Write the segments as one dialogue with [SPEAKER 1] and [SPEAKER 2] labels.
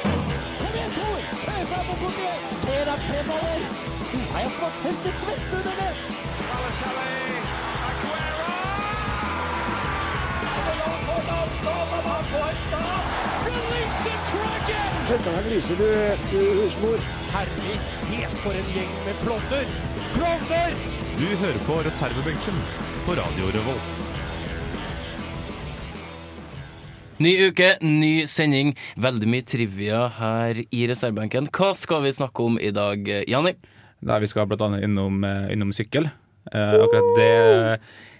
[SPEAKER 1] Kom igjen, Tor! Kjør fra på bordet! Se deg fremover! Nå har jeg spart tente svetten under det!
[SPEAKER 2] Du hører på reservebenken på Radio Revolt.
[SPEAKER 3] Ny uke, ny sending. Veldig mye trivia her i reservebenken. Hva skal vi snakke om i dag, Jani?
[SPEAKER 4] Nei, vi skal blant annet innom, eh, innom sykkel. Eh, akkurat det er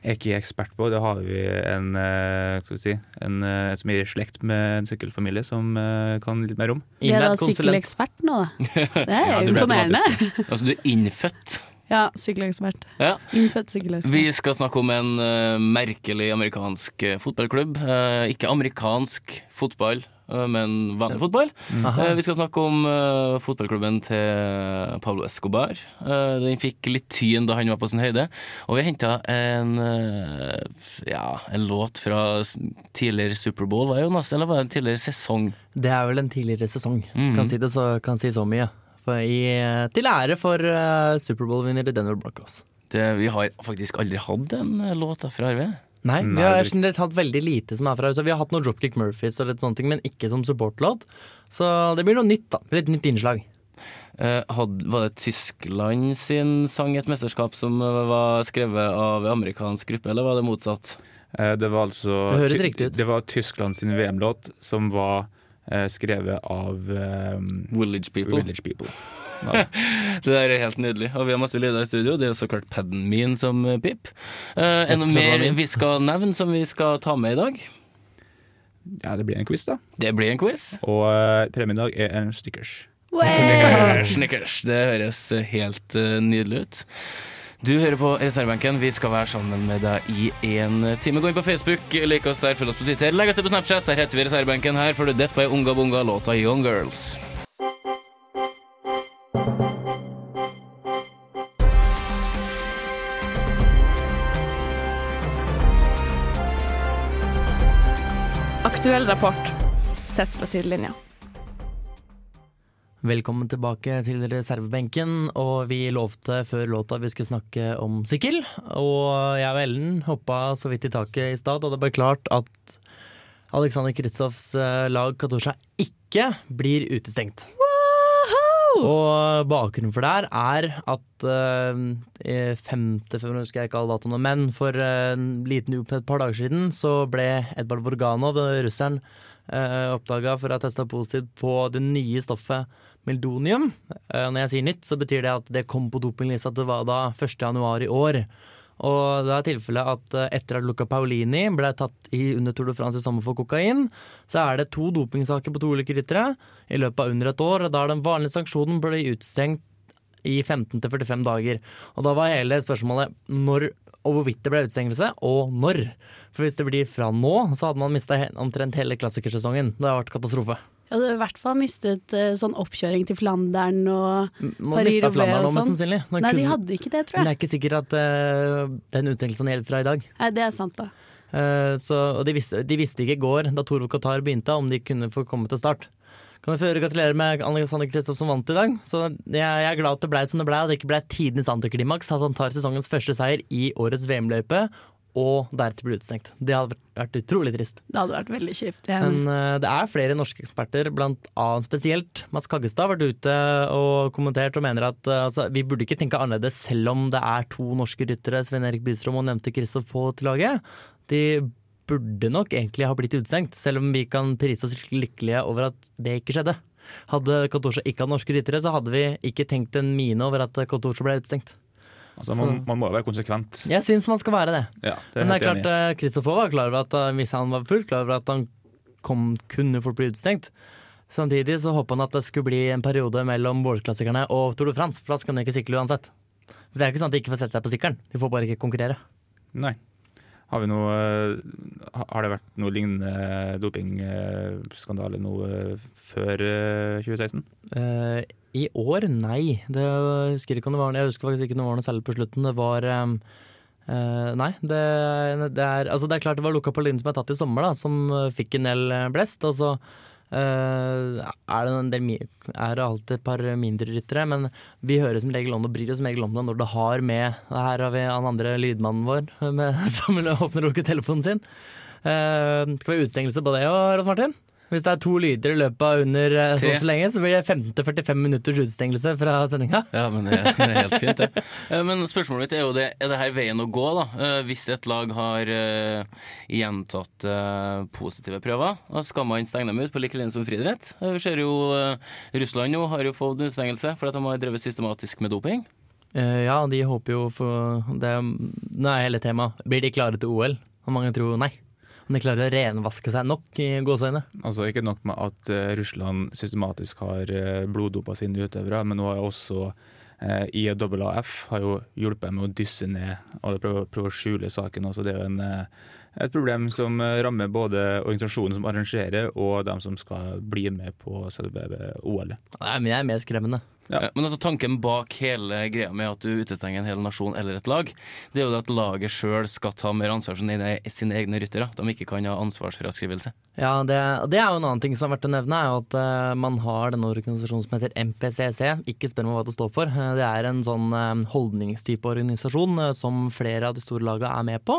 [SPEAKER 4] jeg ikke ekspert på. Det har vi en, eh, skal vi si, en eh, som er i slekt med en sykkelfamilie som eh, kan litt mer om.
[SPEAKER 5] Vi er da
[SPEAKER 3] Innlært konsulent.
[SPEAKER 5] sykkelekspert nå, da. Det er
[SPEAKER 4] Ja, du ble
[SPEAKER 5] imponerende.
[SPEAKER 3] Altså, du er innfødt.
[SPEAKER 5] Ja, sykkelekspert.
[SPEAKER 3] Ja.
[SPEAKER 5] Innfødt sykkelekspert.
[SPEAKER 3] Vi skal snakke om en eh, merkelig amerikansk eh, fotballklubb. Eh, ikke amerikansk fotball, eh, men vanlig fotball. Eh, vi skal snakke om eh, fotballklubben til Pablo Escobar. Eh, den fikk litt tyn da han var på sin høyde. Og vi henta en eh, ja, en låt fra s- tidligere Superbowl, var det, Jonas? Eller var det en tidligere sesong?
[SPEAKER 6] Det er vel en tidligere sesong.
[SPEAKER 4] Mm-hmm.
[SPEAKER 3] Mhm.
[SPEAKER 6] Kan si det så, kan si så mye. For i, til ære for eh, Superbowl-vinner i Denver Broncos.
[SPEAKER 3] Det, vi har faktisk aldri hatt en eh, låt derfra, har vi?
[SPEAKER 6] Nei,
[SPEAKER 4] Nei,
[SPEAKER 6] vi har
[SPEAKER 4] det er
[SPEAKER 6] generelt hatt veldig lite som er fra USA. Vi har hatt noe Dropkick Murphys og litt sånne ting, men ikke som supportlåt. Så det blir noe nytt, da. Litt nytt innslag.
[SPEAKER 3] Eh, hadde, var det Tyskland sin sang i et mesterskap som eh, var skrevet av en amerikansk gruppe, eller var det motsatt?
[SPEAKER 4] Eh, det var altså
[SPEAKER 6] Det høres
[SPEAKER 4] Ty-
[SPEAKER 6] riktig ut.
[SPEAKER 4] Det var Tyskland sin VM-låt som var eh, skrevet av eh,
[SPEAKER 3] Village People.
[SPEAKER 4] Village People.
[SPEAKER 3] Det der er helt nydelig. Og vi har masse lyder i studio. Det er jo så klart paden min som eh, pip. Eh, er det noe
[SPEAKER 6] klart det var
[SPEAKER 3] mer
[SPEAKER 6] min.
[SPEAKER 3] vi skal nevne som vi skal ta med i dag?
[SPEAKER 4] Ja, det blir en quiz, da.
[SPEAKER 3] Det blir en quiz.
[SPEAKER 4] Og eh, premien i dag er en stickers.
[SPEAKER 3] Snickers. Det høres helt eh, nydelig ut. Du hører på reservebenken. Vi skal være sammen med deg i en time. Gå inn på Facebook, lik oss der, følg oss på Twitter, legg oss til på Snapchat. Der heter vi reservebenken. Her får du Death by Unga Bunga, låta Young Girls.
[SPEAKER 7] Aktuell rapport sett fra sidelinja.
[SPEAKER 6] Velkommen tilbake til reservebenken. Og vi lovte før låta vi skulle snakke om sykkel. Og jeg og Ellen hoppa så vidt i taket i stad da det ble klart at Alexander Kristoffs eh, lag Katosha ikke blir utestengt. Og bakgrunnen for det her er at eh, 5. februar, husker jeg ikke alle datoene, men for eh, en liten uke, et par dager siden, så ble Edvard Vorganov, eh, russeren, uh, oppdaga for å ha testa positivt på det nye stoffet meldonium. Eh, når jeg sier nytt, så betyr det at det kom på dopinglista at det var da 1. januar i år. Og det er tilfellet at eh, etter at Luca Paolini ble tatt i under Tour de France i sommer for kokain, så er det to dopingsaker på to ulike ryttere i løpet av under et år, og da er den vanlige sanksjonen blir utestengt i 15 til 45 dager. Og da var hele spørsmålet når og hvorvidt det ble utestengelse, og når. For hvis det blir fra nå, så hadde man mista omtrent hele klassikersesongen. Det har vært katastrofe.
[SPEAKER 5] Jeg hadde i hvert fall mistet eh, sånn oppkjøring til Flandern og
[SPEAKER 6] Man
[SPEAKER 5] Paris
[SPEAKER 6] mista
[SPEAKER 5] Roubaix
[SPEAKER 6] Flandern nå,
[SPEAKER 5] og
[SPEAKER 6] mest
[SPEAKER 5] sånn.
[SPEAKER 6] sannsynlig. Nå
[SPEAKER 5] Nei, de
[SPEAKER 6] kunne-
[SPEAKER 5] hadde ikke det,
[SPEAKER 6] Men det
[SPEAKER 5] tror jeg.
[SPEAKER 6] er ikke sikkert at eh, den utstengelsen gjelder fra i dag.
[SPEAKER 5] Nei, det er sant, da.
[SPEAKER 6] Eh, så, og de visste, de visste ikke i går, da Toro Qatar begynte, om de kunne få komme til start. Kan jeg føre gratulere med Alexander Kristoff som vant i dag. Så jeg, jeg er glad at det ble som det ble, og det ikke ble tidenes antiklimaks at han tar sesongens første seier i årets VM-løype, og deretter blir utestengt. Det hadde vært- vært utrolig trist.
[SPEAKER 5] Det hadde vært veldig kjipt. Jeg,
[SPEAKER 6] Men eh, det er flere norske eksperter, blant annet spesielt Mats Kaggestad, har vært ute og kommentert og mener at eh, altså, vi burde ikke tenke annerledes selv om det er to norske ryttere, Svein Erik Bystrøm og nevnte Kristoff på til laget. De burde nok egentlig ha blitt utestengt, selv om vi kan prise oss lykkelige over at det ikke skjedde. Hadde Katosha ikke hatt norske ryttere, så hadde vi ikke tenkt en mine over at Katosha ble utestengt.
[SPEAKER 4] Altså, man, man må jo være konsekvent.
[SPEAKER 6] Jeg syns man skal være det.
[SPEAKER 4] Ja, det er
[SPEAKER 6] Men det
[SPEAKER 4] helt
[SPEAKER 6] er klart,
[SPEAKER 4] enig.
[SPEAKER 6] eh, Kristoffer var klar over at eh, hvis han var fullt klar over at han kom, kunne fort bli utestengt. Samtidig så håpa han at det skulle bli en periode mellom vårklassikerne og Tour de France, for da skal han ikke sykle uansett. Det er ikke sånn at de ikke får sette seg på sykkelen, de får bare ikke konkurrere.
[SPEAKER 4] Nei. Har, vi noe, eh, ha- har det vært noe lignende dopingskandale nå eh, før eh, 2016?
[SPEAKER 6] Eh, I år, nei. Det jeg husker ikke om det var Jeg husker faktisk ikke om det var noe særlig på slutten. Det var eh, Eh, nei, det, det, er, altså det er klart det var Luca Paulin som er tatt i sommer, da, som eh, fikk en del eh, blest. Og så eh, er det en del mi- er det alltid et par mindre ryttere, men vi hører som regel om det og bryr oss som regel om det når det har med Her har vi han andre lydmannen vår med, som åpner og lukker telefonen sin. Eh, skal vi ha utestengelse på det òg, Rolf Martin? Hvis det er to lyder i løpet av under eh, så
[SPEAKER 3] Tre.
[SPEAKER 6] og så lenge, så blir det 5-45 minutters utestengelse fra sendinga.
[SPEAKER 3] Ja, men det, det er helt fint, det. Eh, Men spørsmålet mitt er jo det, er det her veien å gå, da? Eh, Hvis et lag har eh, gjentatt eh, positive prøver, da skal man stenge dem ut på like linje som friidrett? Eh, Vi ser jo eh, Russland nå har jo fått en utestengelse for at de har drevet systematisk med doping.
[SPEAKER 6] Eh, ja, de håper jo for det, Nå er hele temaet Blir de klare til OL? Og mange tror nei. Om de klarer å renvaske seg nok i gåseøyne.
[SPEAKER 4] Altså Ikke nok med at eh, Russland systematisk har eh, bloddopa sine utøvere, men nå har jo også eh, IAAF har jo hjulpet med å dysse ned og prøve, prøve å skjule saken. Også. Det er jo en, eh, et problem som eh, rammer både organisasjonen som arrangerer og dem som skal bli med på selve OL.
[SPEAKER 6] Nei, men jeg er mer skremmende.
[SPEAKER 4] Ja.
[SPEAKER 3] Eh, Men altså tanken bak hele greia med at du utestenger en hel nasjon eller et lag, det er jo det at laget sjøl skal ta mer ansvar for sine, sine egne ryttere. De ikke kan ha ansvarsfraskrivelse.
[SPEAKER 6] Ja, det, det er jo en annen ting som er verdt å nevne, er jo at eh, man har denne organisasjonen som heter MPCC. Ikke spør meg hva det står for. Eh, det er en sånn eh, holdningstype organisasjon eh, som flere av de store lagene er med på.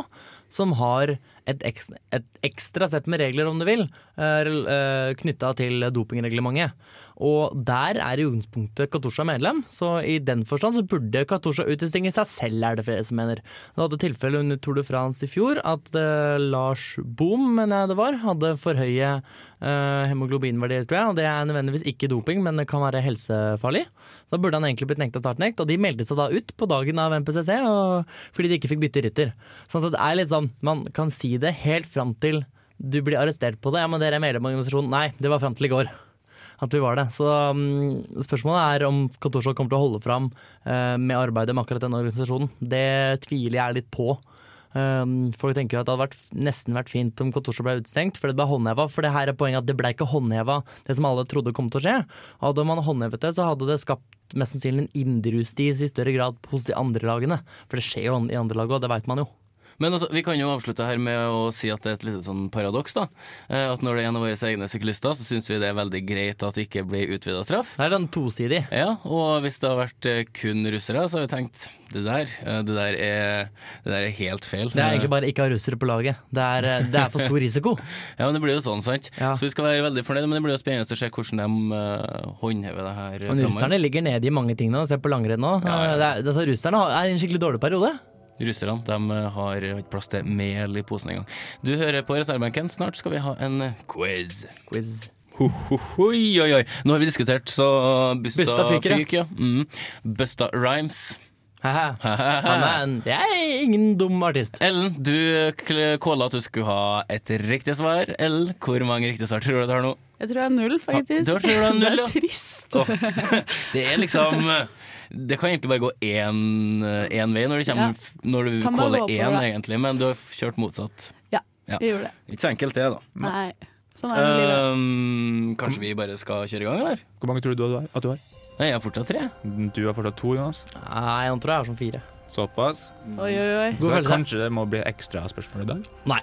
[SPEAKER 6] Som har et, eks, et ekstra sett med regler, om du vil, uh, knytta til dopingreglementet. Og der er i utgangspunktet Katusha medlem, så i den forstand så burde Katusha utestenge seg selv, er det flere som mener. Det hadde tilfelle under Tour de France i fjor at eh, Lars Boom, mener jeg det var, hadde for høye eh, hemoglobinverdier, tror jeg. Og det er nødvendigvis ikke doping, men det kan være helsefarlig. Da burde han egentlig blitt nekta startnekt, og de meldte seg da ut på dagen av MPCC og, fordi de ikke fikk bytte rytter. Sånn at det er litt sånn, man kan si det helt fram til du blir arrestert på det. Ja, men dere er medlem av organisasjonen. Nei, det var fram til i går at vi var det. Så um, spørsmålet er om Kontorshow kommer til å holde fram eh, med arbeidet med akkurat denne organisasjonen. Det tviler jeg litt på. Um, folk tenker jo at det hadde vært, nesten vært fint om Kontorshow ble utestengt, for det ble håndheva. For det her er poenget at det ble ikke håndheva, det som alle trodde kom til å skje. Hadde man håndhevet det, så hadde det skapt mest sannsynlig en indrejustis i større grad hos de andre lagene. For det skjer jo i andre lag òg, det veit man jo.
[SPEAKER 3] Men altså, vi kan jo avslutte her med å si at det er et lite sånn paradoks. da. Eh, At når det er en av våre egne syklister, så syns vi det er veldig greit at det ikke blir utvida straff.
[SPEAKER 6] Det er den tosidig.
[SPEAKER 3] Ja, Og hvis det har vært eh, kun russere, så har vi tenkt det der, eh, det der, er, det der er helt feil.
[SPEAKER 6] Det er egentlig bare ikke ha russere på laget. Det er, eh, det er for stor risiko.
[SPEAKER 3] Ja, men Det blir jo sånn, sant?
[SPEAKER 6] Ja.
[SPEAKER 3] Så vi skal være veldig fornøyd, men det blir jo spennende å se hvordan de eh, håndhever det her.
[SPEAKER 6] Men
[SPEAKER 3] fremover.
[SPEAKER 6] russerne ligger nede i mange ting nå. Se på langrenn nå.
[SPEAKER 3] Ja, ja.
[SPEAKER 6] Det er, altså, russerne har- er i en skikkelig dårlig periode.
[SPEAKER 3] Russerne de eh, har ikke plass til mel i posen engang. Du hører på reservebenken. Snart skal vi ha en eh, quiz.
[SPEAKER 6] Quiz.
[SPEAKER 3] Ho, ho, hoi, oi, oi. Nå har vi diskutert, så Busta,
[SPEAKER 6] Busta fyker, ja.
[SPEAKER 3] fyker, ja. Mm. Busta Rhymes.
[SPEAKER 6] Haha. Han er en, jeg er ingen dum artist.
[SPEAKER 3] Ellen, du kl- kåla at du skulle ha et riktig svar. Ellen, hvor mange riktige svar tror du du har nå?
[SPEAKER 7] Jeg tror det er null, faktisk.
[SPEAKER 3] Ja, du tror det er null,
[SPEAKER 7] Det
[SPEAKER 3] ja.
[SPEAKER 7] er trist.
[SPEAKER 3] Åh, det er liksom Det kan egentlig bare gå én én vei når, det
[SPEAKER 7] Ja.
[SPEAKER 3] kommer, når du
[SPEAKER 7] Kan bare gå
[SPEAKER 3] kåler
[SPEAKER 7] oppover,
[SPEAKER 3] én,
[SPEAKER 7] da.
[SPEAKER 3] egentlig, men du har kjørt motsatt. Ja.
[SPEAKER 7] Jeg gjorde det.
[SPEAKER 3] Ikke så enkelt, det, da.
[SPEAKER 7] Nei. Sånn er det i livet.
[SPEAKER 3] Ehm, kanskje vi bare skal kjøre i gang, eller?
[SPEAKER 4] Hvor mange tror du du har- at du har?
[SPEAKER 3] Nei, jeg er fortsatt tre.
[SPEAKER 4] Du har fortsatt to, Jonas.
[SPEAKER 6] Nei, han tror jeg er som fire.
[SPEAKER 4] Såpass.
[SPEAKER 3] Eh.
[SPEAKER 7] Oi, oi, oi.
[SPEAKER 4] Så
[SPEAKER 6] følelse.
[SPEAKER 4] kanskje det må bli ekstra spørsmål i dag.
[SPEAKER 6] Nei.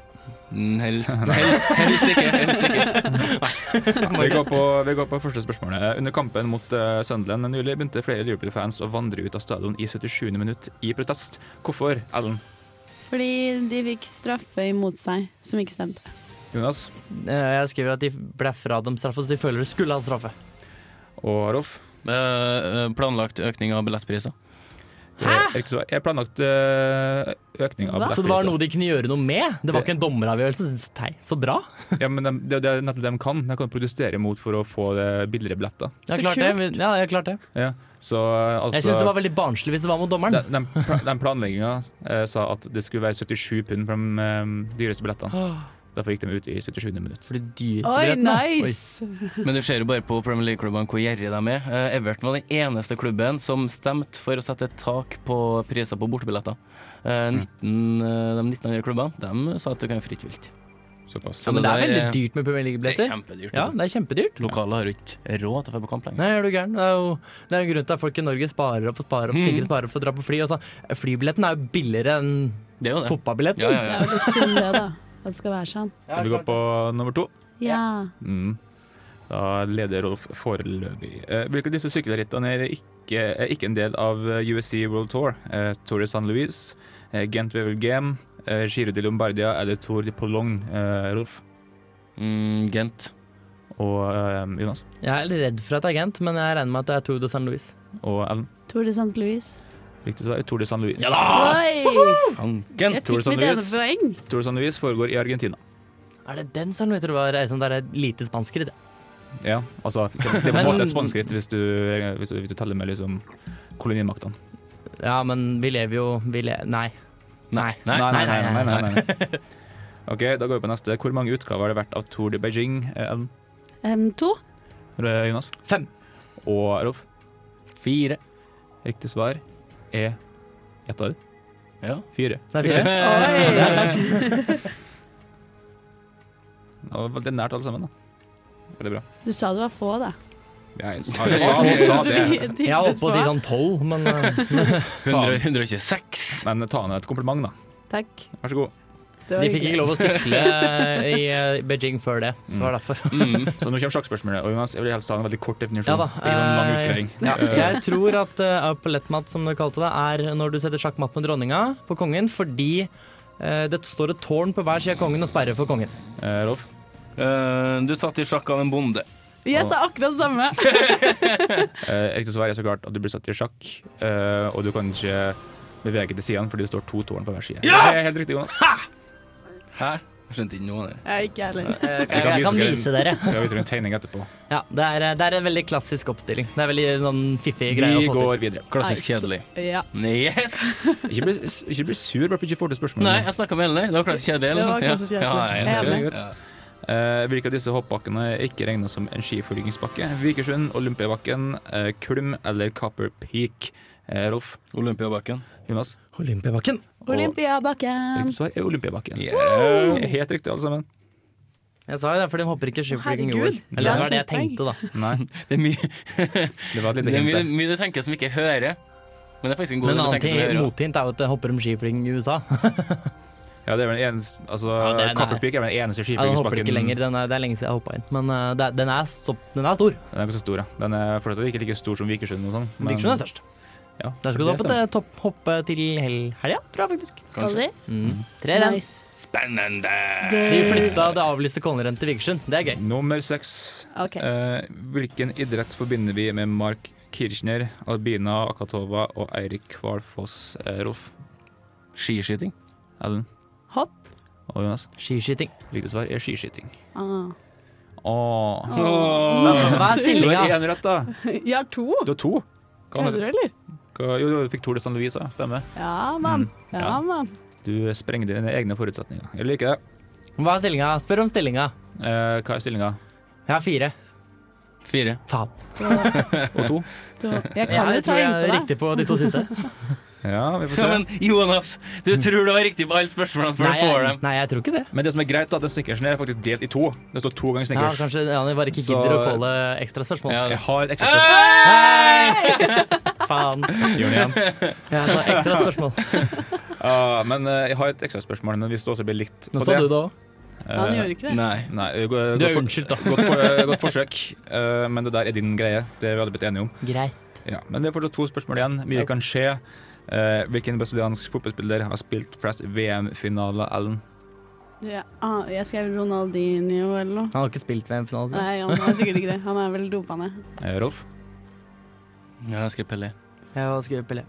[SPEAKER 3] Mm, Helst, helst, helst ikke. Helst ikke.
[SPEAKER 4] Vi går, på, vi går på første spørsmålet. Under kampen mot eh, Sunderland nylig begynte flere Liverpool-fans å vandre ut av stadion i 77. minutt i protest. Hvorfor, Ellen?
[SPEAKER 5] Fordi de fikk straffe imot seg som ikke stemte.
[SPEAKER 4] Jonas
[SPEAKER 6] Eh, Jeg skriver at de ble fra dem straffe, så de føler de skulle ha straffe.
[SPEAKER 4] og Rolf?
[SPEAKER 3] Eh, planlagt økning av billettpriser.
[SPEAKER 4] Hæ? Riktig svar. Jeg planlagt eh, økning av
[SPEAKER 6] Så det var
[SPEAKER 4] billettpriser.
[SPEAKER 6] noe de kunne gjøre noe med? Det var ikke en dommeravgjørelse? Nei, så bra.
[SPEAKER 4] Ja, men dem- det, det er nettopp det de kan. De kan protestere mot for å få eh, billigere billetter.
[SPEAKER 6] Jeg
[SPEAKER 7] Så
[SPEAKER 6] klarte det. men- Ja, jeg klarte det.
[SPEAKER 4] Ja. Så eh, altså
[SPEAKER 6] Jeg syns det var veldig barnslig hvis det var mot dommeren.
[SPEAKER 4] Den, den, pla- den planlegginga eh, sa at det skulle være 77 pund for de eh, dyreste billettene. Derfor gikk de ut i 77. minutt.
[SPEAKER 6] For de dyreste
[SPEAKER 7] Oi,
[SPEAKER 6] billettene.
[SPEAKER 7] nice!
[SPEAKER 3] Men du ser jo bare på Premier League-klubbene hvor gjerrige de er. Eh, Everton var den eneste klubben som stemte for å sette et tak på priser Mm. på bortebilletter. Eh, 19, eh, de 19 andre klubbene de sa at du kan fritt vilt.
[SPEAKER 6] Oi.
[SPEAKER 4] Såpass.
[SPEAKER 3] Ja,
[SPEAKER 6] men det
[SPEAKER 3] det
[SPEAKER 6] er
[SPEAKER 3] der
[SPEAKER 6] veldig
[SPEAKER 3] er-
[SPEAKER 6] dyrt med
[SPEAKER 3] Det
[SPEAKER 6] Premier
[SPEAKER 3] er
[SPEAKER 6] League-billetter.
[SPEAKER 3] kjempedyrt.
[SPEAKER 6] Ja, det er kjempedyrt.
[SPEAKER 3] Lokalet har jo ikke råd til å dra på kamp lenger.
[SPEAKER 6] Nei, er du gæren? Det er jo det er en grunn til at folk i Norge sparer opp og sparer opp,
[SPEAKER 3] Mm.
[SPEAKER 6] tenker sparer opp for å dra på fly. Og så, flybilletten er jo billigere enn
[SPEAKER 3] Det er jo det.
[SPEAKER 6] fotballbilletten.
[SPEAKER 3] Ja, ja,
[SPEAKER 5] Det
[SPEAKER 3] ja.
[SPEAKER 5] er jo litt synd det, da. At det skal være sånn.
[SPEAKER 2] Skal vi gå på nummer to?
[SPEAKER 5] Ja.
[SPEAKER 2] Mm.
[SPEAKER 4] Da leder Rolf foreløpig. Eh, hvilke av disse sykkelrittene er ikke, er ikke en del av eh, USC World Tour? Eh, Tour de San Luis, eh, Gent Wevel Game, eh, Giro de Lombardia eller Tour de Pologne, eh, Rolf
[SPEAKER 3] Mm, Gent.
[SPEAKER 4] og eh, Jonas
[SPEAKER 6] Jeg er litt redd for at det er Gent, men jeg regner med at det er Tour de San Luis.
[SPEAKER 4] og Ellen?
[SPEAKER 5] Tour de St. Louis.
[SPEAKER 4] Riktig svar er Tour de San Luis.
[SPEAKER 5] Oi!
[SPEAKER 3] Fanken!
[SPEAKER 5] Jeg
[SPEAKER 4] Tour de
[SPEAKER 5] fikk
[SPEAKER 4] St.
[SPEAKER 6] sånn,
[SPEAKER 5] mitt ene
[SPEAKER 4] Louis.
[SPEAKER 5] poeng.
[SPEAKER 4] Tour de San Luis foregår i Argentina.
[SPEAKER 6] Er det den som heter det var sånn der lite spansk ritt?
[SPEAKER 4] Ja, altså Det er på en
[SPEAKER 6] Men-
[SPEAKER 4] måte et spanskritt hvis, du- hvis, du- hvis du teller med liksom kolonimaktene.
[SPEAKER 6] Ja, men vi lever jo vi le Nei.
[SPEAKER 3] Nei. Nei.
[SPEAKER 6] nei, nei, nei,
[SPEAKER 4] nei. OK, da går vi på neste. Hvor mange utgaver har det vært av Tour de Beijing, eh, Ellen,
[SPEAKER 5] Em, to.
[SPEAKER 4] eh, Jonas
[SPEAKER 6] Fem.
[SPEAKER 4] og Rolf?
[SPEAKER 3] Fire.
[SPEAKER 4] Riktig svar er Gjett av det.
[SPEAKER 3] Ja.
[SPEAKER 4] Fire.
[SPEAKER 6] Det er fire.
[SPEAKER 4] Ja, det var- det er nært alle sammen, da. Veldig bra.
[SPEAKER 5] Du sa det var få, da.
[SPEAKER 4] Jeg
[SPEAKER 3] jeg sa- jeg sa
[SPEAKER 4] det.
[SPEAKER 6] Jeg holdt på å si sånn tolv, men eh,
[SPEAKER 3] 100, 126.
[SPEAKER 4] Men eh, ta ned et kompliment, da.
[SPEAKER 7] Takk.
[SPEAKER 4] Vær så god.
[SPEAKER 7] Det var
[SPEAKER 6] de fikk
[SPEAKER 7] hyggelig.
[SPEAKER 6] ikke lov å sykle i eh, Beijing før det, så det var derfor.
[SPEAKER 3] Mm.
[SPEAKER 4] Så nå kommer sjakkspørsmålet. Og Jonas, jeg vil helst ha en veldig kort definisjon.
[SPEAKER 6] Ja da,
[SPEAKER 4] Ikke sånn lang
[SPEAKER 6] eh,
[SPEAKER 4] utgreiing.
[SPEAKER 6] Ja,
[SPEAKER 4] Eh,
[SPEAKER 6] jeg tror at uh, appellettmatt, som du kalte det, er når du setter sjakkmatt med dronninga på kongen, fordi eh, det står et tårn på hver side av kongen og sperrer for kongen.
[SPEAKER 4] eh, Rolf?
[SPEAKER 3] Eh, du satt i sjakk av en bonde.
[SPEAKER 7] Jeg sa akkurat det samme.
[SPEAKER 4] Eh, riktig svar er så klart at du blir satt i sjakk, eh, og du kan ikke bevege til sidene fordi det står to tårn på hver side. Det er helt riktig, Jonas.
[SPEAKER 3] Hæ? Jeg skjønte ikke noe av det.
[SPEAKER 7] Jeg ikke heller.
[SPEAKER 6] Jeg,
[SPEAKER 4] kan vise
[SPEAKER 6] kan
[SPEAKER 4] dere-
[SPEAKER 6] vise dere.
[SPEAKER 4] Jeg viser deg en tegning etterpå.
[SPEAKER 6] Ja, det er, eh, det er en veldig klassisk oppstilling. Det er veldig sånn fiffig greie
[SPEAKER 4] Vi
[SPEAKER 6] å få til.
[SPEAKER 4] går videre.
[SPEAKER 3] Klassisk kjedelig.
[SPEAKER 7] Ja.
[SPEAKER 3] Yes!
[SPEAKER 4] Ikke bli, ikke bli sur bare for ikke får til spørsmålet.
[SPEAKER 3] Nei, jeg snakka med Ellen der. Det var klassisk kjedelig. eller
[SPEAKER 7] Det var
[SPEAKER 3] noe sånt.
[SPEAKER 7] klassisk
[SPEAKER 3] Ja.
[SPEAKER 7] kjedelig.
[SPEAKER 3] Ja, jeg
[SPEAKER 7] Jeg
[SPEAKER 3] er
[SPEAKER 7] er
[SPEAKER 3] enig.
[SPEAKER 4] enig.
[SPEAKER 3] Ja.
[SPEAKER 4] Eh, hvilke av disse hoppbakkene er ikke regna som en skiflygingsbakke? Vikersund, Olympiabakken, eh, Kulm eller Copper Peak? Eh, Rolf?
[SPEAKER 3] Olympiabakken.
[SPEAKER 4] Jonas?
[SPEAKER 6] Olympiabakken.
[SPEAKER 4] Og
[SPEAKER 5] Olympiabakken.
[SPEAKER 4] riktig svar er Olympiabakken. Eh,
[SPEAKER 3] Yeah.
[SPEAKER 4] Helt riktig, alle sammen.
[SPEAKER 6] Jeg sa jo det, for de hopper ikke skiflyging i
[SPEAKER 7] Herregud,
[SPEAKER 6] OL. Eller det
[SPEAKER 7] det er
[SPEAKER 6] var det jeg
[SPEAKER 7] to poeng.
[SPEAKER 6] tenkte, da.
[SPEAKER 4] Nei,
[SPEAKER 3] Det er mye,
[SPEAKER 4] det var et
[SPEAKER 3] det
[SPEAKER 4] lite
[SPEAKER 3] er
[SPEAKER 4] hint
[SPEAKER 3] mye,
[SPEAKER 4] der.
[SPEAKER 3] mye du tenker som ikke hører. Men det er faktisk en god
[SPEAKER 6] Men en
[SPEAKER 3] del å
[SPEAKER 6] annen
[SPEAKER 3] tenke
[SPEAKER 6] ting,
[SPEAKER 3] som hører.
[SPEAKER 6] mothint er jo at det hopper om skiflyging i USA.
[SPEAKER 4] Ja, det er vel den eneste, altså,
[SPEAKER 6] Ja, det er-
[SPEAKER 4] Copper Peak er vel den eneste
[SPEAKER 6] Ja, den hopper
[SPEAKER 4] skiflygingsbakken.
[SPEAKER 6] ikke lenger, den er, det er lenge siden jeg hoppa inn. Men eh, det er- den er, så, den er stor.
[SPEAKER 4] Den er ganske stor, ja. Den er fortsatt ikke like stor som Vikersund og sånn. men-
[SPEAKER 6] Vikersund er størst.
[SPEAKER 4] Ja,
[SPEAKER 6] Der skal du
[SPEAKER 4] det
[SPEAKER 6] hoppe
[SPEAKER 4] stemmer.
[SPEAKER 6] til topp, hoppe til hel- helga, tror jeg faktisk.
[SPEAKER 5] Skal de?
[SPEAKER 6] Mm. Tre renn.
[SPEAKER 5] Nice.
[SPEAKER 3] Spennende!
[SPEAKER 6] De flytta det avlyste kongerennet til Vikersund. Det er gøy.
[SPEAKER 4] Nummer seks.
[SPEAKER 5] Ok.
[SPEAKER 4] Eh, hvilken idrett forbinder vi med Mark Kirchner, Albina Akatova og Eirik Kvalfoss eh, Rolf?
[SPEAKER 3] Skiskyting.
[SPEAKER 4] Ellen
[SPEAKER 5] Hopp.
[SPEAKER 4] og Jonas?
[SPEAKER 6] Skiskyting.
[SPEAKER 4] Riktig svar er skiskyting.
[SPEAKER 5] Ah.
[SPEAKER 4] Åh.
[SPEAKER 6] Hva er
[SPEAKER 4] Du har
[SPEAKER 6] stillinga?
[SPEAKER 4] én rett, da.
[SPEAKER 7] Jeg har to.
[SPEAKER 4] Du har to. Hva
[SPEAKER 7] Kødder du,
[SPEAKER 4] heter det?
[SPEAKER 7] eller?
[SPEAKER 4] Hva- Jo, sånn du fikk Tour de San Luis òg, stemmer.
[SPEAKER 7] Ja, mann.
[SPEAKER 6] Mm.
[SPEAKER 7] Ja,
[SPEAKER 4] Ja.
[SPEAKER 7] mann.
[SPEAKER 4] Du sprengte dine egne forutsetninger. Jeg liker det.
[SPEAKER 6] Hva er stillinga? Spør om stillinga.
[SPEAKER 4] Eh, hva er stillinga?
[SPEAKER 6] Jeg har fire.
[SPEAKER 3] Fire.
[SPEAKER 6] Faen.
[SPEAKER 4] Og to?
[SPEAKER 7] To. Jeg kan jo ta
[SPEAKER 6] Jeg tror jeg er
[SPEAKER 7] innpå deg.
[SPEAKER 6] riktig på de to siste.
[SPEAKER 4] Ja, vi får
[SPEAKER 3] Ja,
[SPEAKER 4] se.
[SPEAKER 3] men Jonas, du tror du har riktig på alle spørsmålene før
[SPEAKER 6] Nei,
[SPEAKER 3] du får
[SPEAKER 6] jeg,
[SPEAKER 3] dem.
[SPEAKER 6] nei, jeg tror ikke det.
[SPEAKER 4] Men det som er greit, da, at den snickersen her er faktisk delt i to. Det står to ganger
[SPEAKER 6] Ja,
[SPEAKER 4] snickers.
[SPEAKER 6] kanskje Jani bare ikke
[SPEAKER 4] Så-
[SPEAKER 6] gidder å calle ekstra spørsmål.
[SPEAKER 3] Ja,
[SPEAKER 4] Jeg
[SPEAKER 3] det-
[SPEAKER 4] har et ekstra
[SPEAKER 6] Faen.
[SPEAKER 4] Gjør det igjen.
[SPEAKER 6] Ja, så ekstra spørsmål.
[SPEAKER 4] Ja, men eh, jeg har et ekstraspørsmål, men hvis det også blir likt
[SPEAKER 6] Nå sa du det òg.
[SPEAKER 7] Han gjorde ikke det.
[SPEAKER 3] Nei.
[SPEAKER 4] Nei, eh, gå- godt
[SPEAKER 6] Du er
[SPEAKER 4] for-
[SPEAKER 6] unnskyldt, da.
[SPEAKER 4] Godt, for, eh, godt forsøk, eh, men det der er din greie. Det er vi alle blitt enige om.
[SPEAKER 6] Greit.
[SPEAKER 4] Ja, men det er fortsatt to spørsmål igjen. Mye kan skje. Eh, hvilken brasiliansk fotballspiller har spilt flest VM-finaler, Ellen?
[SPEAKER 7] Ja, ah, jeg skrev Ronaldinho eller noe.
[SPEAKER 6] Han har ikke spilt VM-finale.
[SPEAKER 7] Nei, han er sikkert ikke det. Han er vel dopa ned.
[SPEAKER 4] Eh, Rolf?
[SPEAKER 3] Ja, jeg skal Pelle.
[SPEAKER 6] Jeg har skrevet Pelé.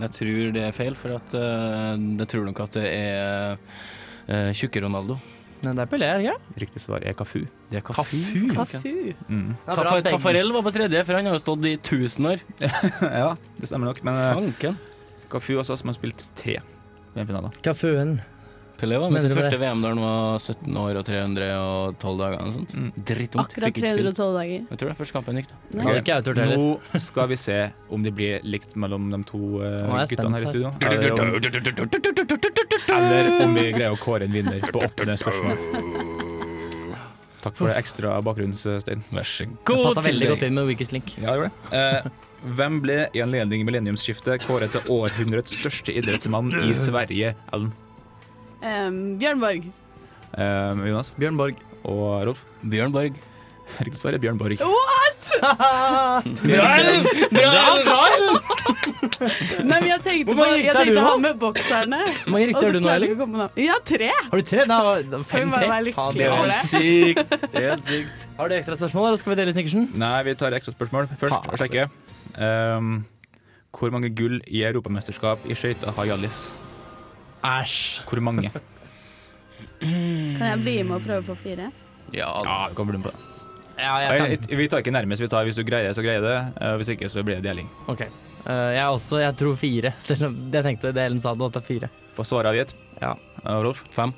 [SPEAKER 3] Jeg tror det er feil, for at eh, jeg tror nok at det er eh, tjukke Ronaldo.
[SPEAKER 6] Men det er Pelé, er det ikke?
[SPEAKER 4] Riktig svar er Kafu.
[SPEAKER 3] Det er
[SPEAKER 4] Cafu?
[SPEAKER 7] Kafu.
[SPEAKER 4] Mm.
[SPEAKER 6] Ja, bra,
[SPEAKER 3] Tafa-
[SPEAKER 6] begge.
[SPEAKER 3] Taffarel var på tredje, for han har jo stått i tusen år.
[SPEAKER 4] ja, det stemmer nok. Men eh,
[SPEAKER 3] Fanken.
[SPEAKER 4] Cafu også, som har spilt tre VM-finaler.
[SPEAKER 6] Kafuen.
[SPEAKER 3] Pelé var med
[SPEAKER 6] Mener
[SPEAKER 3] sitt
[SPEAKER 6] du det?
[SPEAKER 3] første VM da han var 17 år og 312 dager eller noe sånt.
[SPEAKER 4] Mm.
[SPEAKER 3] Drittungt.
[SPEAKER 7] Akkurat
[SPEAKER 3] Fikk ikke spille.
[SPEAKER 7] 312 dager.
[SPEAKER 3] Jeg tror det er første kampen gikk, da.
[SPEAKER 4] Ok.
[SPEAKER 6] Han er ikke autort heller.
[SPEAKER 4] Nå skal vi se om det blir likt mellom de to eh,
[SPEAKER 6] Nå er jeg
[SPEAKER 4] guttene her i
[SPEAKER 6] spent
[SPEAKER 4] studio. Eh, Eller om, eller om vi greier å kåre en vinner på åttende spørsmål. Takk for det ekstra bakgrunnsstøyen.
[SPEAKER 3] Vær så
[SPEAKER 6] Det
[SPEAKER 3] god
[SPEAKER 6] passer veldig godt inn med Weakest Link.
[SPEAKER 4] Ja, gjorde det. Eh, hvem ble i anledning millenniumsskiftet kåret til århundrets største idrettsmann i Sverige? Ellen,
[SPEAKER 7] Ehm, Bjørnborg.
[SPEAKER 4] eh, Jonas
[SPEAKER 6] Bjørn Borg.
[SPEAKER 4] og Rolf.
[SPEAKER 3] Bjørn Borg.
[SPEAKER 4] Riktig svar er Bjørn Borg.
[SPEAKER 7] Nei, men jeg tenkte på
[SPEAKER 6] Hvor mange riktig
[SPEAKER 7] jeg
[SPEAKER 6] er du
[SPEAKER 7] tenkte
[SPEAKER 6] nå?
[SPEAKER 7] han med bokserne.
[SPEAKER 6] Hvor mange
[SPEAKER 7] og
[SPEAKER 6] riktige
[SPEAKER 7] så
[SPEAKER 6] har du nå,
[SPEAKER 7] klarte jeg
[SPEAKER 6] Ellie?
[SPEAKER 7] ikke å komme på navn. Ja, tre!
[SPEAKER 6] Har du tre? Da, da- fem,
[SPEAKER 7] Hun var
[SPEAKER 6] tre.
[SPEAKER 7] veldig
[SPEAKER 6] Faen,
[SPEAKER 7] lykkelig over
[SPEAKER 6] det
[SPEAKER 7] det.
[SPEAKER 3] Sykt.
[SPEAKER 6] var helt sykt. Har du ekstra spørsmål, eller skal vi dele snickersen?
[SPEAKER 4] Nei, vi tar ekstra spørsmål først og sjekker. Ehm, hvor mange gull i europamesterskap i skøyter har Hjallis?
[SPEAKER 6] Æsj.
[SPEAKER 4] Hvor mange?
[SPEAKER 7] Kan jeg bli med og prøve å få fire?
[SPEAKER 3] Ja,
[SPEAKER 4] Ja, vi kan bli med på det.
[SPEAKER 6] Ja,
[SPEAKER 4] Nei,
[SPEAKER 6] jeg kan.
[SPEAKER 4] jeg- Vi tar ikke nærmest. Vi tar hvis du greier, så greier det. Eh, Hvis ikke, så blir det deling.
[SPEAKER 6] OK. Eh, jeg også. Jeg tror fire. Selv om jeg tenkte det Ellen sa, det er fire.
[SPEAKER 4] Få svaret avgitt.
[SPEAKER 6] Ja.
[SPEAKER 4] Eh, Rolf,
[SPEAKER 3] fem.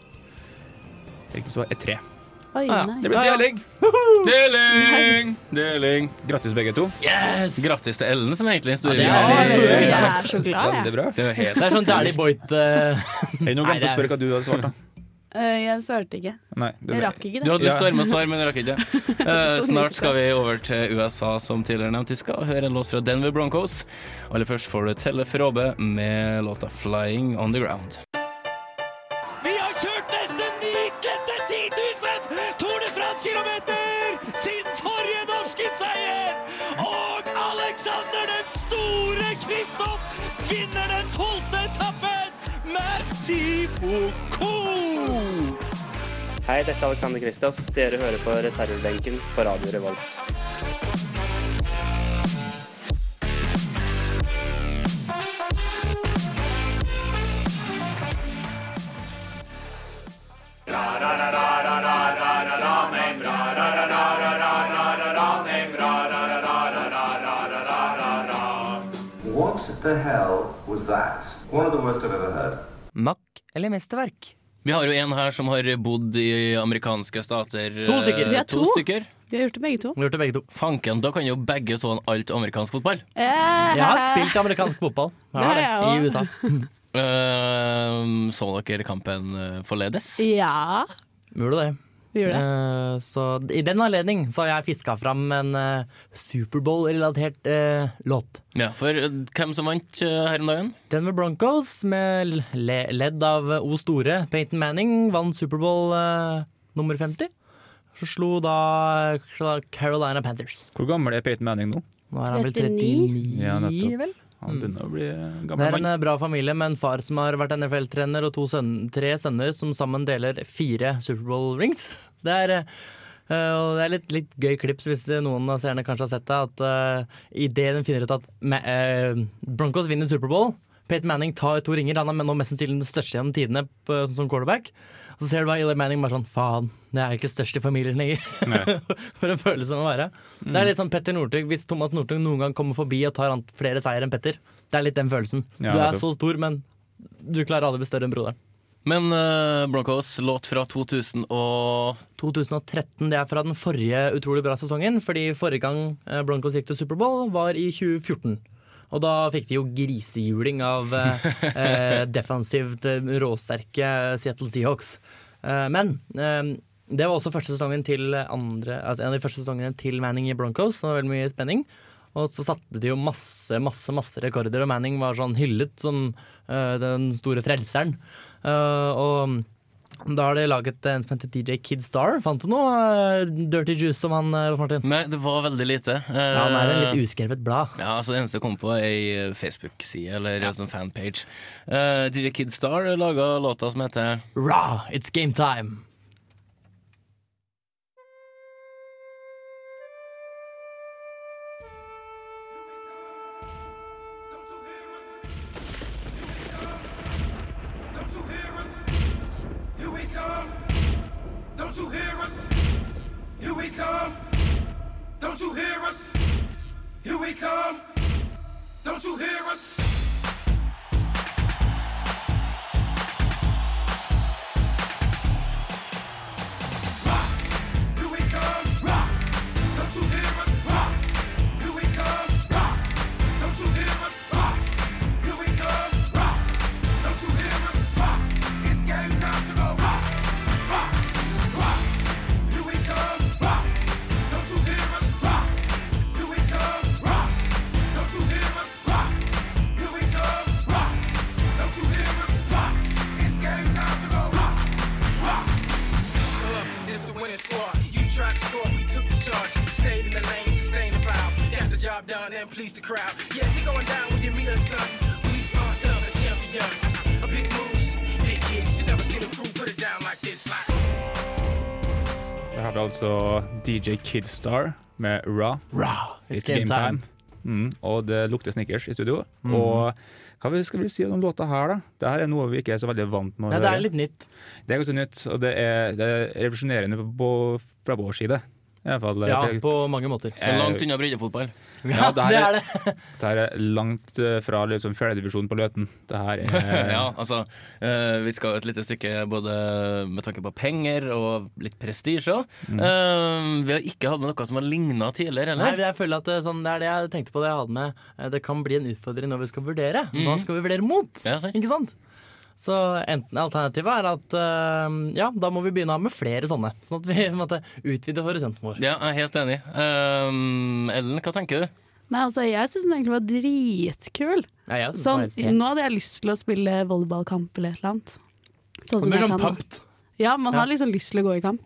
[SPEAKER 4] riktig svar er tre.
[SPEAKER 7] Oi,
[SPEAKER 6] Ja,
[SPEAKER 7] nei.
[SPEAKER 4] Det blir
[SPEAKER 6] Ja, ja.
[SPEAKER 4] deling.
[SPEAKER 3] Deling! Deling.
[SPEAKER 4] Grattis, begge to.
[SPEAKER 6] Yes!
[SPEAKER 3] Grattis til Ellen, som egentlig er en stor
[SPEAKER 6] Ja, det er
[SPEAKER 3] vinner.
[SPEAKER 6] veldig stor
[SPEAKER 7] jeg er så glad,
[SPEAKER 4] Veldig
[SPEAKER 7] jeg.
[SPEAKER 4] bra.
[SPEAKER 3] Det er jo helt
[SPEAKER 6] Det er sånn Dæhlie Boit eh,
[SPEAKER 4] Jeg nå
[SPEAKER 6] Nei,
[SPEAKER 4] glemte
[SPEAKER 6] det
[SPEAKER 4] å
[SPEAKER 6] er-
[SPEAKER 4] spørre hva du hadde svart, da.
[SPEAKER 7] Eh, jeg svarte ikke.
[SPEAKER 4] Nei, du,
[SPEAKER 7] Jeg rakk ikke
[SPEAKER 3] Du
[SPEAKER 7] det.
[SPEAKER 3] hadde lyst til å være med og svare, men det rakk jeg ikke. Eh,
[SPEAKER 7] Sånn gikk
[SPEAKER 3] snart
[SPEAKER 7] det.
[SPEAKER 3] skal vi over til USA, som tidligere nevnt. Vi skal høre en låt fra Denver Broncos. Aller først får du Telle Fråbe med låta 'Flying On The Ground'.
[SPEAKER 1] Vi har kjørt nesten nykleste 10 000 Tour de France-kilometer siden forrige norske seier! Og Alexander den store Kristoff vinner den tolvte etappen med Siboko!
[SPEAKER 8] Hei, dette er Alexander Kristoff. Dere hører på reservebenken på Radio Revolt.
[SPEAKER 9] What the hell was that? One of the worst I've ever heard.
[SPEAKER 6] Makk eller mesterverk?
[SPEAKER 3] Vi har jo en her som har bodd i amerikanske stater.
[SPEAKER 6] To stykker.
[SPEAKER 3] eh,
[SPEAKER 6] Vi
[SPEAKER 7] er
[SPEAKER 3] to.
[SPEAKER 7] to.
[SPEAKER 3] stykker.
[SPEAKER 7] Vi har gjort det begge to.
[SPEAKER 6] Vi har gjort det begge to.
[SPEAKER 3] Fanken, da kan jo begge to en alt amerikansk fotball.
[SPEAKER 7] Eh,
[SPEAKER 6] Jeg har spilt amerikansk fotball
[SPEAKER 7] Det har jeg
[SPEAKER 6] i
[SPEAKER 7] også.
[SPEAKER 6] USA.
[SPEAKER 3] Eh, så dere kampen eh, forledes?
[SPEAKER 7] Ja,
[SPEAKER 6] Gjorde det.
[SPEAKER 7] vi gjorde det.
[SPEAKER 6] Eh, så i den anledning så har jeg fiska fram en eh, Superbowl-relatert eh, låt.
[SPEAKER 3] Ja, for eh, hvem som vant eh, her om dagen?
[SPEAKER 6] Denver Broncos, med le ledd av O store Peyton Manning, vant Superbowl eh, nummer 50. Så slo da Carolina Panthers.
[SPEAKER 4] Hvor gammel er Peyton Manning nå?
[SPEAKER 6] Nå er han vel
[SPEAKER 5] 39?
[SPEAKER 6] 39,
[SPEAKER 4] Ja, nettopp.
[SPEAKER 6] vel?
[SPEAKER 4] Han begynner å bli en
[SPEAKER 6] Det
[SPEAKER 4] gammel
[SPEAKER 6] er
[SPEAKER 4] mann.
[SPEAKER 6] en eh, bra familie med en far som har vært NFL-trener og to sønn, tre sønner som sammen deler fire Superbowl-rings. Det er, eh, og det er litt, litt gøy klips hvis noen av seerne kanskje har sett det, at eh, i idet den finner ut at Ma eh, Broncos vinner Superbowl Peyton Manning tar to ringer, han er nå mest sannsynlig den største gjennom tidene på- som quarterback. Og så ser du bare Eli Manning bare sånn Faen, det er jo ikke størst i familien lenger. For en følelse av å være. Det
[SPEAKER 4] Mm.
[SPEAKER 6] er litt sånn Petter Northug, hvis Thomas Northug noen gang kommer forbi og tar an- flere seier enn Petter. Det er litt den følelsen.
[SPEAKER 4] Ja,
[SPEAKER 6] du er
[SPEAKER 4] nettopp.
[SPEAKER 6] så stor, men du klarer aldri å bli større enn broderen.
[SPEAKER 3] Men eh, Broncos låt fra 2000 og
[SPEAKER 6] 2013 det er fra den forrige utrolig bra sesongen, fordi forrige gang eh, Broncos gikk til Superbowl, var i 2014. Og da fikk de jo grisehjuling av eh, eh, defensivt eh, råsterke Seattle Seahawks. Eh, men eh, det var også første sesongen til andre, altså en av de første sesongene til Manning i Broncos. så Det var veldig mye spenning. Og så satte de jo masse, masse masse rekorder, og Manning var sånn hyllet som eh, den store frelseren. Eh, og da har de laget en som heter DJ Kid Star. Fant du noe eh, Dirty Juice som han, eh, Rolf Martin?
[SPEAKER 3] Nei, det var veldig lite. Eh,
[SPEAKER 6] Ja, han er en litt uskrevet blad.
[SPEAKER 3] Ja, altså Det eneste jeg kom på, er ei eh, Facebook-side eller en sånn fanpage. Eh, DJ Kidstar laga låta som heter
[SPEAKER 6] Rah, it's game time!
[SPEAKER 10] It's game time to go rock, rock, rock. Here we come. squad. You tried to score, we took the charge. Stayed in the lane, sustained the fouls. Got the job done and pleased the crowd. Yeah, you're going down when you meet us, son. We are the champions. A big moves, big hits. You never seen a crew put it down like this. Like,
[SPEAKER 4] Der har vi altså DJ Kidstar med Ra. It's game time. Mm, og det lukter sneakers i studio. Og hva vi- skal vi si om låta her, da? Det her er noe vi ikke er så veldig vant med å
[SPEAKER 6] Nei, det
[SPEAKER 4] høre.
[SPEAKER 6] er litt nytt.
[SPEAKER 4] Det er ganske nytt, og det er, det er revolusjonerende på, på, fra vår side. I alle fall,
[SPEAKER 6] Ja,
[SPEAKER 4] det,
[SPEAKER 6] på mange måter.
[SPEAKER 3] Det er Langt unna breddefotball.
[SPEAKER 6] Ja,
[SPEAKER 4] det er
[SPEAKER 6] det er det.
[SPEAKER 4] det her er langt eh, fra liksom, fjerdedivisjon på Løten. Det her er
[SPEAKER 3] ja, altså, eh, vi skal et lite stykke både med tanke på penger og litt prestisje.
[SPEAKER 6] Mm.
[SPEAKER 3] Eh, vi har ikke hatt med noe som har ligna tidligere
[SPEAKER 6] Nei,
[SPEAKER 3] heller.
[SPEAKER 6] jeg føler at det, er sånn, det er det jeg tenkte på det jeg hadde med. Eh, Det kan bli en utfordring når vi skal vurdere. Hva skal vi vurdere mot?
[SPEAKER 3] Ja, sant.
[SPEAKER 6] Ikke Mhm. sant? Så enten alternativet er at eh, ja, da må vi begynne å ha med flere sånne. Sånn at vi på en måte, utvider horisonten vår.
[SPEAKER 3] Ja, jeg er helt enig. Eh, Ellen, hva tenker du?
[SPEAKER 5] Nei, altså, jeg syns den egentlig var dritkul.
[SPEAKER 6] Ja, jeg synes
[SPEAKER 5] Sånn,
[SPEAKER 6] det er helt-
[SPEAKER 5] nå hadde jeg lyst til å spille volleyballkamp eller et eller annet. Sånn
[SPEAKER 6] Man
[SPEAKER 5] som
[SPEAKER 6] blir
[SPEAKER 5] jeg
[SPEAKER 6] sånn
[SPEAKER 5] kan. nå.
[SPEAKER 6] pumped.
[SPEAKER 5] Ja, man har liksom lyst til å gå i kamp.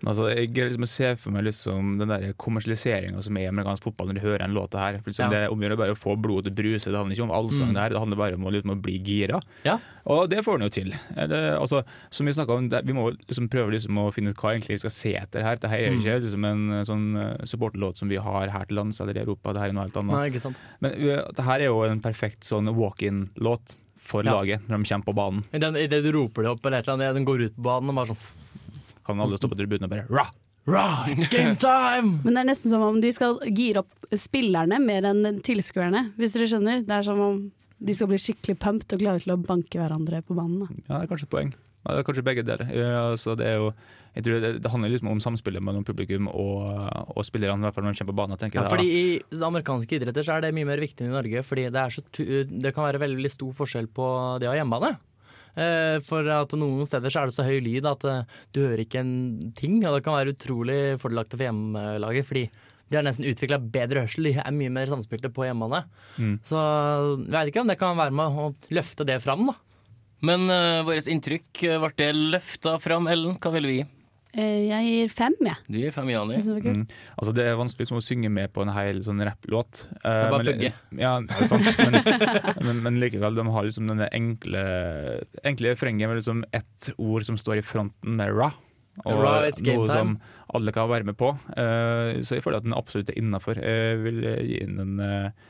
[SPEAKER 4] Men Altså, jeg greier liksom å se for meg liksom den der kommersialiseringa som er i amerikansk fotball når du hører den låta her. For liksom
[SPEAKER 6] Ja.
[SPEAKER 4] Det
[SPEAKER 6] Mm.
[SPEAKER 4] omgjør bare å få blodet til å bruse, det handler ikke om allsang det her, det handler bare om å, liksom, å bli gira.
[SPEAKER 6] Ja.
[SPEAKER 4] Og det får den jo til. Det, altså, som Vi snakket om, det, vi må liksom prøve liksom å finne ut hva egentlig vi skal se etter her. Dette her
[SPEAKER 6] Mm.
[SPEAKER 4] er jo ikke liksom en eh, sånn eh, supporterlåt som vi har her til lands eller i Europa, det her er noe helt annet.
[SPEAKER 6] Nei, ikke sant.
[SPEAKER 4] Men eh, det her er jo en perfekt sånn walk-in-låt for
[SPEAKER 6] Ja.
[SPEAKER 4] laget når de kommer på banen.
[SPEAKER 6] I den- i det du roper det opp, eller et eller annet, den går ut på banen og bare sånn
[SPEAKER 4] Kan alle stå på tribunen og bare rah!
[SPEAKER 6] Rah, it's game time!
[SPEAKER 5] Men det er nesten som om de skal gire opp spillerne mer enn tilskuerne, hvis dere skjønner. Det er som om de skal bli skikkelig pumped og klare til å banke hverandre på banen. Da.
[SPEAKER 4] Ja, det er kanskje et poeng. Ja, Det er kanskje begge deler. Ja, altså, det, er jo, jeg tror det, det handler liksom om samspillet mellom publikum og, og spillerne, i hvert fall når de kommer på banen. tenker
[SPEAKER 6] Ja,
[SPEAKER 4] jeg.
[SPEAKER 6] fordi I amerikanske idretter så er det mye mer viktig enn i Norge. fordi Det, er så tu eh, det kan være veldig stor forskjell på det å ha hjemmebane. Eh, For at noen steder så er det så høy lyd at eh, du hører ikke en ting. Og det kan være utrolig fordelaktig for hjemmelaget, fordi de har nesten utvikla bedre hørsel. De er mye mer samspilte på hjemmebane.
[SPEAKER 4] Mm.
[SPEAKER 6] Så jeg vet ikke om det kan være med å løfte det fram, da.
[SPEAKER 3] Men uh, vårt inntrykk, eh, ble det løfta fram? Ellen, hva ville vi gi?
[SPEAKER 5] Eh, Jeg gir fem, jeg.
[SPEAKER 3] Du gir fem Jani.
[SPEAKER 5] Jeg synes det var
[SPEAKER 6] Mm.
[SPEAKER 5] kult.
[SPEAKER 4] Altså, det er vanskelig liksom, å synge med på en hel sånn rapplåt. Uh,
[SPEAKER 3] er bare pugge.
[SPEAKER 4] Ja, det er sant. Men, men, men likevel, de har liksom denne enkle, enkle refrenget med liksom ett ord som står i fronten med ra. Og
[SPEAKER 6] Ra, it's game
[SPEAKER 4] noe
[SPEAKER 6] time.
[SPEAKER 4] som alle kan være med på. Eh, så jeg føler at den absolutt er innafor. Jeg vil eh, gi den en, eh,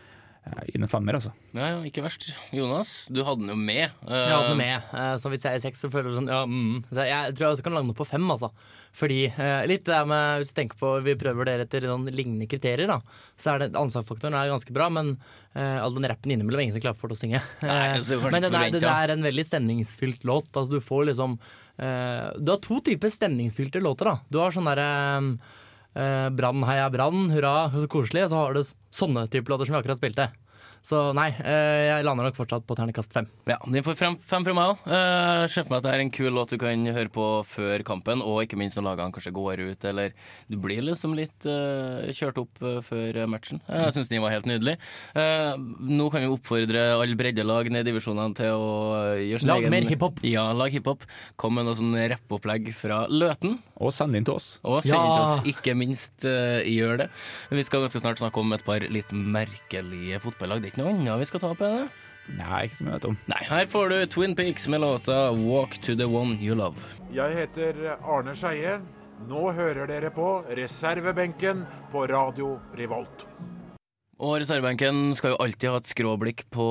[SPEAKER 4] ja, gi den en femmer, altså.
[SPEAKER 3] Ja, ja, ikke verst. Jonas, du hadde den jo med. Eh,
[SPEAKER 6] Jeg hadde den med. eh, Så hvis jeg er seks, så føler jeg sånn ja, mm. så Jeg tror jeg også kan lande på fem, altså. Fordi eh, litt det der med Hvis du tenker på vi prøver å vurdere etter sånn lignende kriterier, da, så er det anslagsfaktoren er ganske bra, men eh, all den rappen innimellom er ingen som klarer for å synge.
[SPEAKER 3] Nei, altså, det var kanskje
[SPEAKER 6] men den
[SPEAKER 3] ikke
[SPEAKER 6] er,
[SPEAKER 3] forventet,
[SPEAKER 6] den er en veldig stemningsfylt låt. Altså, du får liksom eh, Du har to typer stemningsfylte låter, da. Du har sånn derre eh, Brann, heia Brann, hurra, så koselig. Og så har du s- sånne typer låter som vi akkurat spilte. Så nei, eh, jeg lander nok fortsatt på terningkast fem.
[SPEAKER 3] Ja, den får frem, fem fra meg òg. Uh, Ser for meg at det er en kul låt du kan høre på før kampen, og ikke minst når lagene kanskje går ut, eller du blir liksom litt eh, kjørt opp eh, før matchen. Eh, jeg syns den var helt nydelig. Eh, nå kan vi oppfordre alle breddelag ned i divisjonene til å eh, gjøre sin
[SPEAKER 6] Lag
[SPEAKER 3] egen
[SPEAKER 6] mer hiphop.
[SPEAKER 3] Ja, lag hiphop. Kom med noe sånn rappopplegg fra Løten.
[SPEAKER 4] Og send inn til oss.
[SPEAKER 3] Og send inn
[SPEAKER 6] Ja.
[SPEAKER 3] til oss, ikke minst eh, gjør det. Vi skal ganske snart snakke om et par litt merkelige fotballag. Det er ikke noe annet vi skal ta opp? Er det?
[SPEAKER 4] Nei, ikke som jeg vet om.
[SPEAKER 3] Nei, her får du Twin Peaks med låta 'Walk to the One You Love'.
[SPEAKER 11] Jeg heter Arne Skeie. Nå hører dere på reservebenken på Radio Revolt.
[SPEAKER 3] Og reservebenken skal jo alltid ha et skråblikk på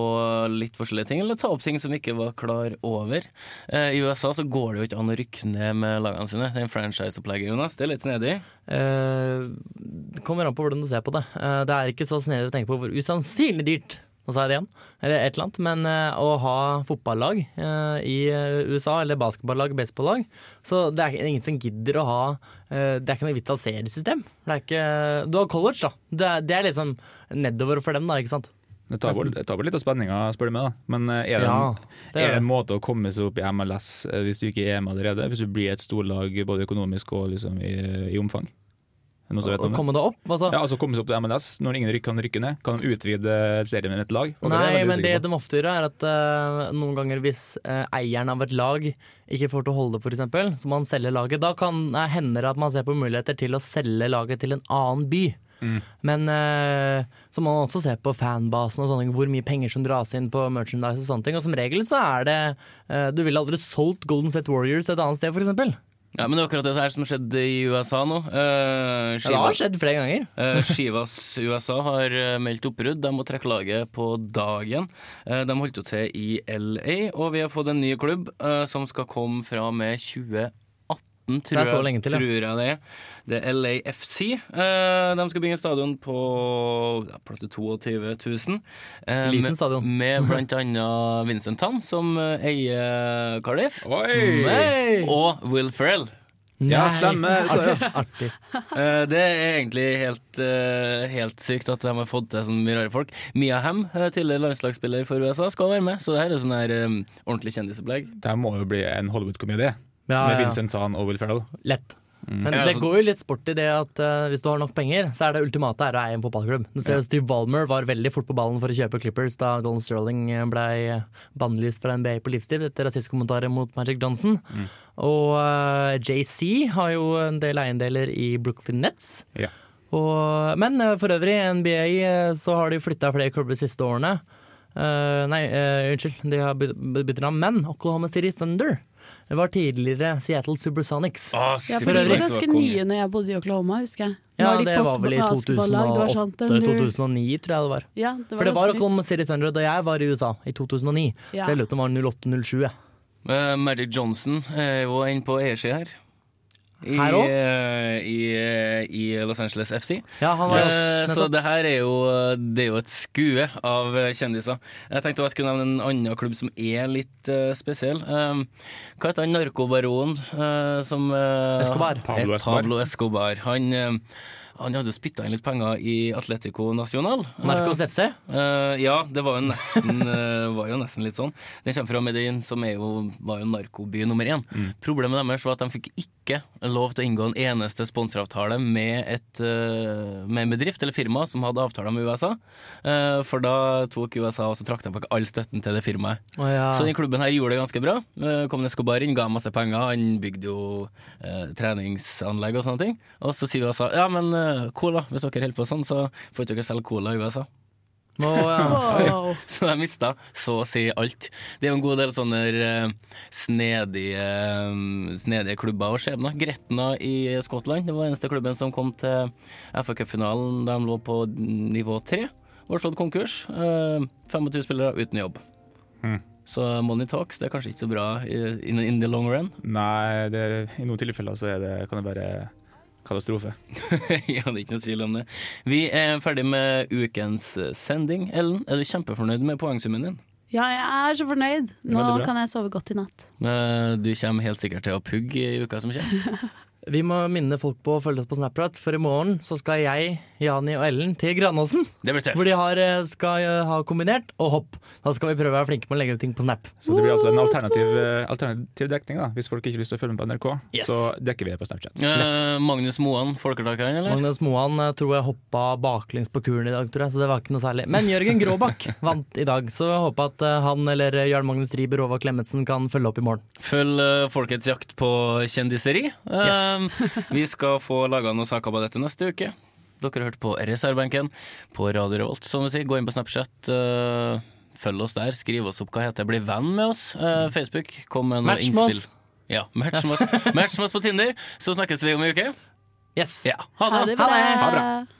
[SPEAKER 3] litt forskjellige ting, eller ta opp ting som vi ikke var klar over. Eh, I USA så går det jo ikke an å rykke ned med lagene sine. Det er en franchise-opplegget, Jonas. Det er litt snedig.
[SPEAKER 6] Eh, Det kommer an på hvordan du ser på det. Eh, det er ikke så snedig å tenke på hvor usannsynlig dyrt nå sa jeg det igjen, eller et eller annet, men eh, å ha fotballag eh, i eh, USA, eller basketballag, baseballag, så det er ingen som gidder å ha eh, Det er ikke noe vits å ha seriesystem. Det er ikke, du har college, da. Det er, det er liksom nedover for dem, da, ikke sant?
[SPEAKER 4] Det tar bort, det tar bort litt av spenninga, spør du meg. da. Men eh, er det,
[SPEAKER 6] Ja,
[SPEAKER 4] en,
[SPEAKER 6] det
[SPEAKER 4] er
[SPEAKER 6] er
[SPEAKER 4] det en
[SPEAKER 6] det.
[SPEAKER 4] måte å komme seg opp i MLS eh, hvis du ikke er med allerede? Hvis du blir et storlag både økonomisk og liksom i, i omfang? Noen som vet
[SPEAKER 6] Å
[SPEAKER 4] om det?
[SPEAKER 6] komme deg opp? Altså,
[SPEAKER 4] Ja, altså komme seg opp til MLS. Når ingen ryk- kan rykke ned, kan de utvide serien med et lag? Og er
[SPEAKER 6] Nei,
[SPEAKER 4] jeg veldig
[SPEAKER 6] men det
[SPEAKER 4] usikker på.
[SPEAKER 6] de ofte gjør, er at eh, noen ganger hvis eh, eieren av et lag ikke får til å holde det, f.eks., så må han selge laget. Da kan, eh, hender det at man ser på muligheter til å selge laget til en annen by.
[SPEAKER 4] Mm.
[SPEAKER 6] Men eh, så må man også se på fanbasen og sånne, hvor mye penger som dras inn på merchandise og sånne ting. Og som regel så er det eh, Du ville aldri solgt Golden State Warriors et annet sted, f.eks.
[SPEAKER 3] Ja, men det er akkurat det her som skjedde i USA nå. Eh,
[SPEAKER 6] Ja, det har skjedd flere ganger.
[SPEAKER 3] Eh, Shivas USA har eh, meldt oppbrudd. De må trekke laget på dagen. Eh, De holdt jo til i LA, og vi har fått en ny klubb eh, som skal komme fra og med 2018, tror,
[SPEAKER 6] Det er så lenge til, ja.
[SPEAKER 3] tror jeg det er. Det er LAFC. Eh, De skal bygge en stadion på ja, plass til 22 000. eh,
[SPEAKER 6] Liten
[SPEAKER 3] med-
[SPEAKER 6] stadion.
[SPEAKER 3] Med blant annet Vincent Tan, som eh, eier Cardiff.
[SPEAKER 4] Oi!
[SPEAKER 6] Nei!
[SPEAKER 3] Og Will Ferrell.
[SPEAKER 4] Ja, stemmer. det sa jeg.
[SPEAKER 6] Artig.
[SPEAKER 3] Eh, Det er egentlig helt, eh, helt sykt at de har fått til sånne mye rare folk. Mia Hamm, eh, tidligere landslagsspiller for USA, skal være med, så det her er jo sånn her eh, ordentlig kjendisopplegg.
[SPEAKER 4] Det her må jo bli en Hollywood-komedie.
[SPEAKER 6] Ja,
[SPEAKER 4] Med
[SPEAKER 6] ja.
[SPEAKER 4] Vincent Zahn og Will Ferrell.
[SPEAKER 6] Lett. Men
[SPEAKER 3] Ja,
[SPEAKER 6] det
[SPEAKER 3] altså-
[SPEAKER 6] går jo litt sport i det at eh, hvis du har nok penger, så er det ultimate er å eie en fotballklubb. Du ser jo Steve Ballmer var veldig fort på ballen for å kjøpe Clippers da Donald Sterling eh, ble bannlyst fra NBA på livstid etter rasistkommentarer mot Magic Johnson. Og eh, JC har jo en del eiendeler i Brooklyn Nets.
[SPEAKER 4] Ja.
[SPEAKER 6] Og, men eh, for øvrig, i NBA eh, så har de flytta flere klubber de siste årene. Eh, nei, eh, unnskyld, de har byt- byttet navn. Men Oklahoma City Thunder var tidligere Seattle Supersonics.
[SPEAKER 5] Ja, for de var ganske nye når jeg bodde i Oklahoma, husker jeg. Nå
[SPEAKER 6] Ja,
[SPEAKER 5] har de
[SPEAKER 6] det
[SPEAKER 5] fått
[SPEAKER 6] var vel i
[SPEAKER 5] basketballag, det var sånn, den-
[SPEAKER 6] 2008-2009, tror jeg det var.
[SPEAKER 5] Ja, det var
[SPEAKER 6] For det var
[SPEAKER 5] ganske nytt.
[SPEAKER 6] Oklahoma City Thunder da jeg var i USA, i 2009.
[SPEAKER 5] Ja.
[SPEAKER 6] Så jeg lurer på om det var 08-07. jeg.
[SPEAKER 3] Eh, Magic Johnson er jo inne på eiersida her. I,
[SPEAKER 6] Her også?
[SPEAKER 3] eh, i, eh, I Los Angeles FC.
[SPEAKER 6] Ja, han var
[SPEAKER 3] Eh, Så
[SPEAKER 6] nettopp.
[SPEAKER 3] det her er jo, det er jo et skue av eh, kjendiser. Jeg tenkte også jeg skulle nevne en annen klubb som er litt eh, spesiell. Um, hva heter han narkobaronen eh, som eh,
[SPEAKER 6] Escobar.
[SPEAKER 4] Pablo
[SPEAKER 3] het
[SPEAKER 4] Escobar.
[SPEAKER 3] Pablo Escobar. Han, eh, han hadde spytta inn litt penger i Atletico Nacional.
[SPEAKER 6] Narcos FC.
[SPEAKER 3] Eh, ja, det var jo nesten, eh, var jo nesten litt sånn. Den kommer fra Medellin, som er jo, var jo narkoby nummer én. Problemet deres var at de fikk ikke lov til å inngå en eneste sponsoravtale med, et, eh, med en bedrift eller firma som hadde avtaler med USA. Eh, for da tok USA og så trakk de bak all støtten til det firmaet.
[SPEAKER 6] Å, ja.
[SPEAKER 3] Så den klubben her gjorde det ganske bra. Eh, Kom Escobar inn, ga masse penger. Han bygde jo eh, treningsanlegg og sånne ting. Og så sier USA ja, men eh, cola, hvis dere holder på sånn, så får ikke dere selge cola i USA.
[SPEAKER 6] Nå, ja.
[SPEAKER 5] Wow.
[SPEAKER 3] Så jeg mista så å si alt. Det er jo en god del sånne eh, snedige, eh, snedige klubber og skjebner. Gretna i Skottland det var eneste klubben som kom til FA Cup-finalen da de lå på nivå tre. Var slått konkurs. Eh, 25 spillere uten jobb.
[SPEAKER 4] Hmm.
[SPEAKER 3] Så money talks, det er kanskje ikke så bra i- in, in the long run.
[SPEAKER 4] Nei, det, i noen tilfeller så er det, kan det være katastrofe.
[SPEAKER 3] ja, det er ikke noe tvil om det. Vi er ferdig med ukens sending. Ellen, er du kjempefornøyd med poengsummen din?
[SPEAKER 5] Ja, jeg er så fornøyd.
[SPEAKER 4] Veldig
[SPEAKER 5] Nå
[SPEAKER 4] bra.
[SPEAKER 5] kan jeg sove godt i natt.
[SPEAKER 3] Eh, Du kommer helt sikkert til å pugge i uka som kommer.
[SPEAKER 6] Vi må minne folk på å følge oss på Snapchat, for i morgen så skal jeg, Jani og Ellen til Granåsen.
[SPEAKER 3] Det blir tøft.
[SPEAKER 6] Hvor de har, eh, skal eh, ha kombinert og hopp. Da skal vi prøve å være flinke med å legge ut ting på Snap.
[SPEAKER 4] Så det blir altså en alternativ, eh, alternativ dekning, da. Hvis folk ikke har lyst til å følge med på NRK,
[SPEAKER 6] Yes.
[SPEAKER 4] så dekker vi det på Snapchat.
[SPEAKER 3] Eh, Magnus Moan, folketakeren, eller?
[SPEAKER 6] Magnus Moan eh, tror jeg hoppa baklengs på kuren i dag, tror jeg, så det var ikke noe særlig. Men Jørgen Gråbakk vant i dag, så jeg håper at eh, han eller eh, Jarl Magnus Riiber og Håvard Klemetsen kan følge opp i morgen.
[SPEAKER 3] Følg eh, Folkets jakt på kjendiseri. Eh, vi skal få laga noen saker på dette neste uke. Dere har hørt på Reservebenken på Radio Revolt, som vi sier. Gå inn på Snapchat. eh, Følg oss der, skriv oss opp hva heter bli venn med oss. Eh, Facebook, kom med noen
[SPEAKER 6] Mm. Match med
[SPEAKER 3] innspill.
[SPEAKER 6] oss.
[SPEAKER 3] Ja, match med oss. Match med oss på Tinder, så snakkes vi om en uke.
[SPEAKER 6] Yes.
[SPEAKER 3] Ja, ha det!
[SPEAKER 5] Ha det bra.
[SPEAKER 6] Ha det.
[SPEAKER 5] Ha det bra.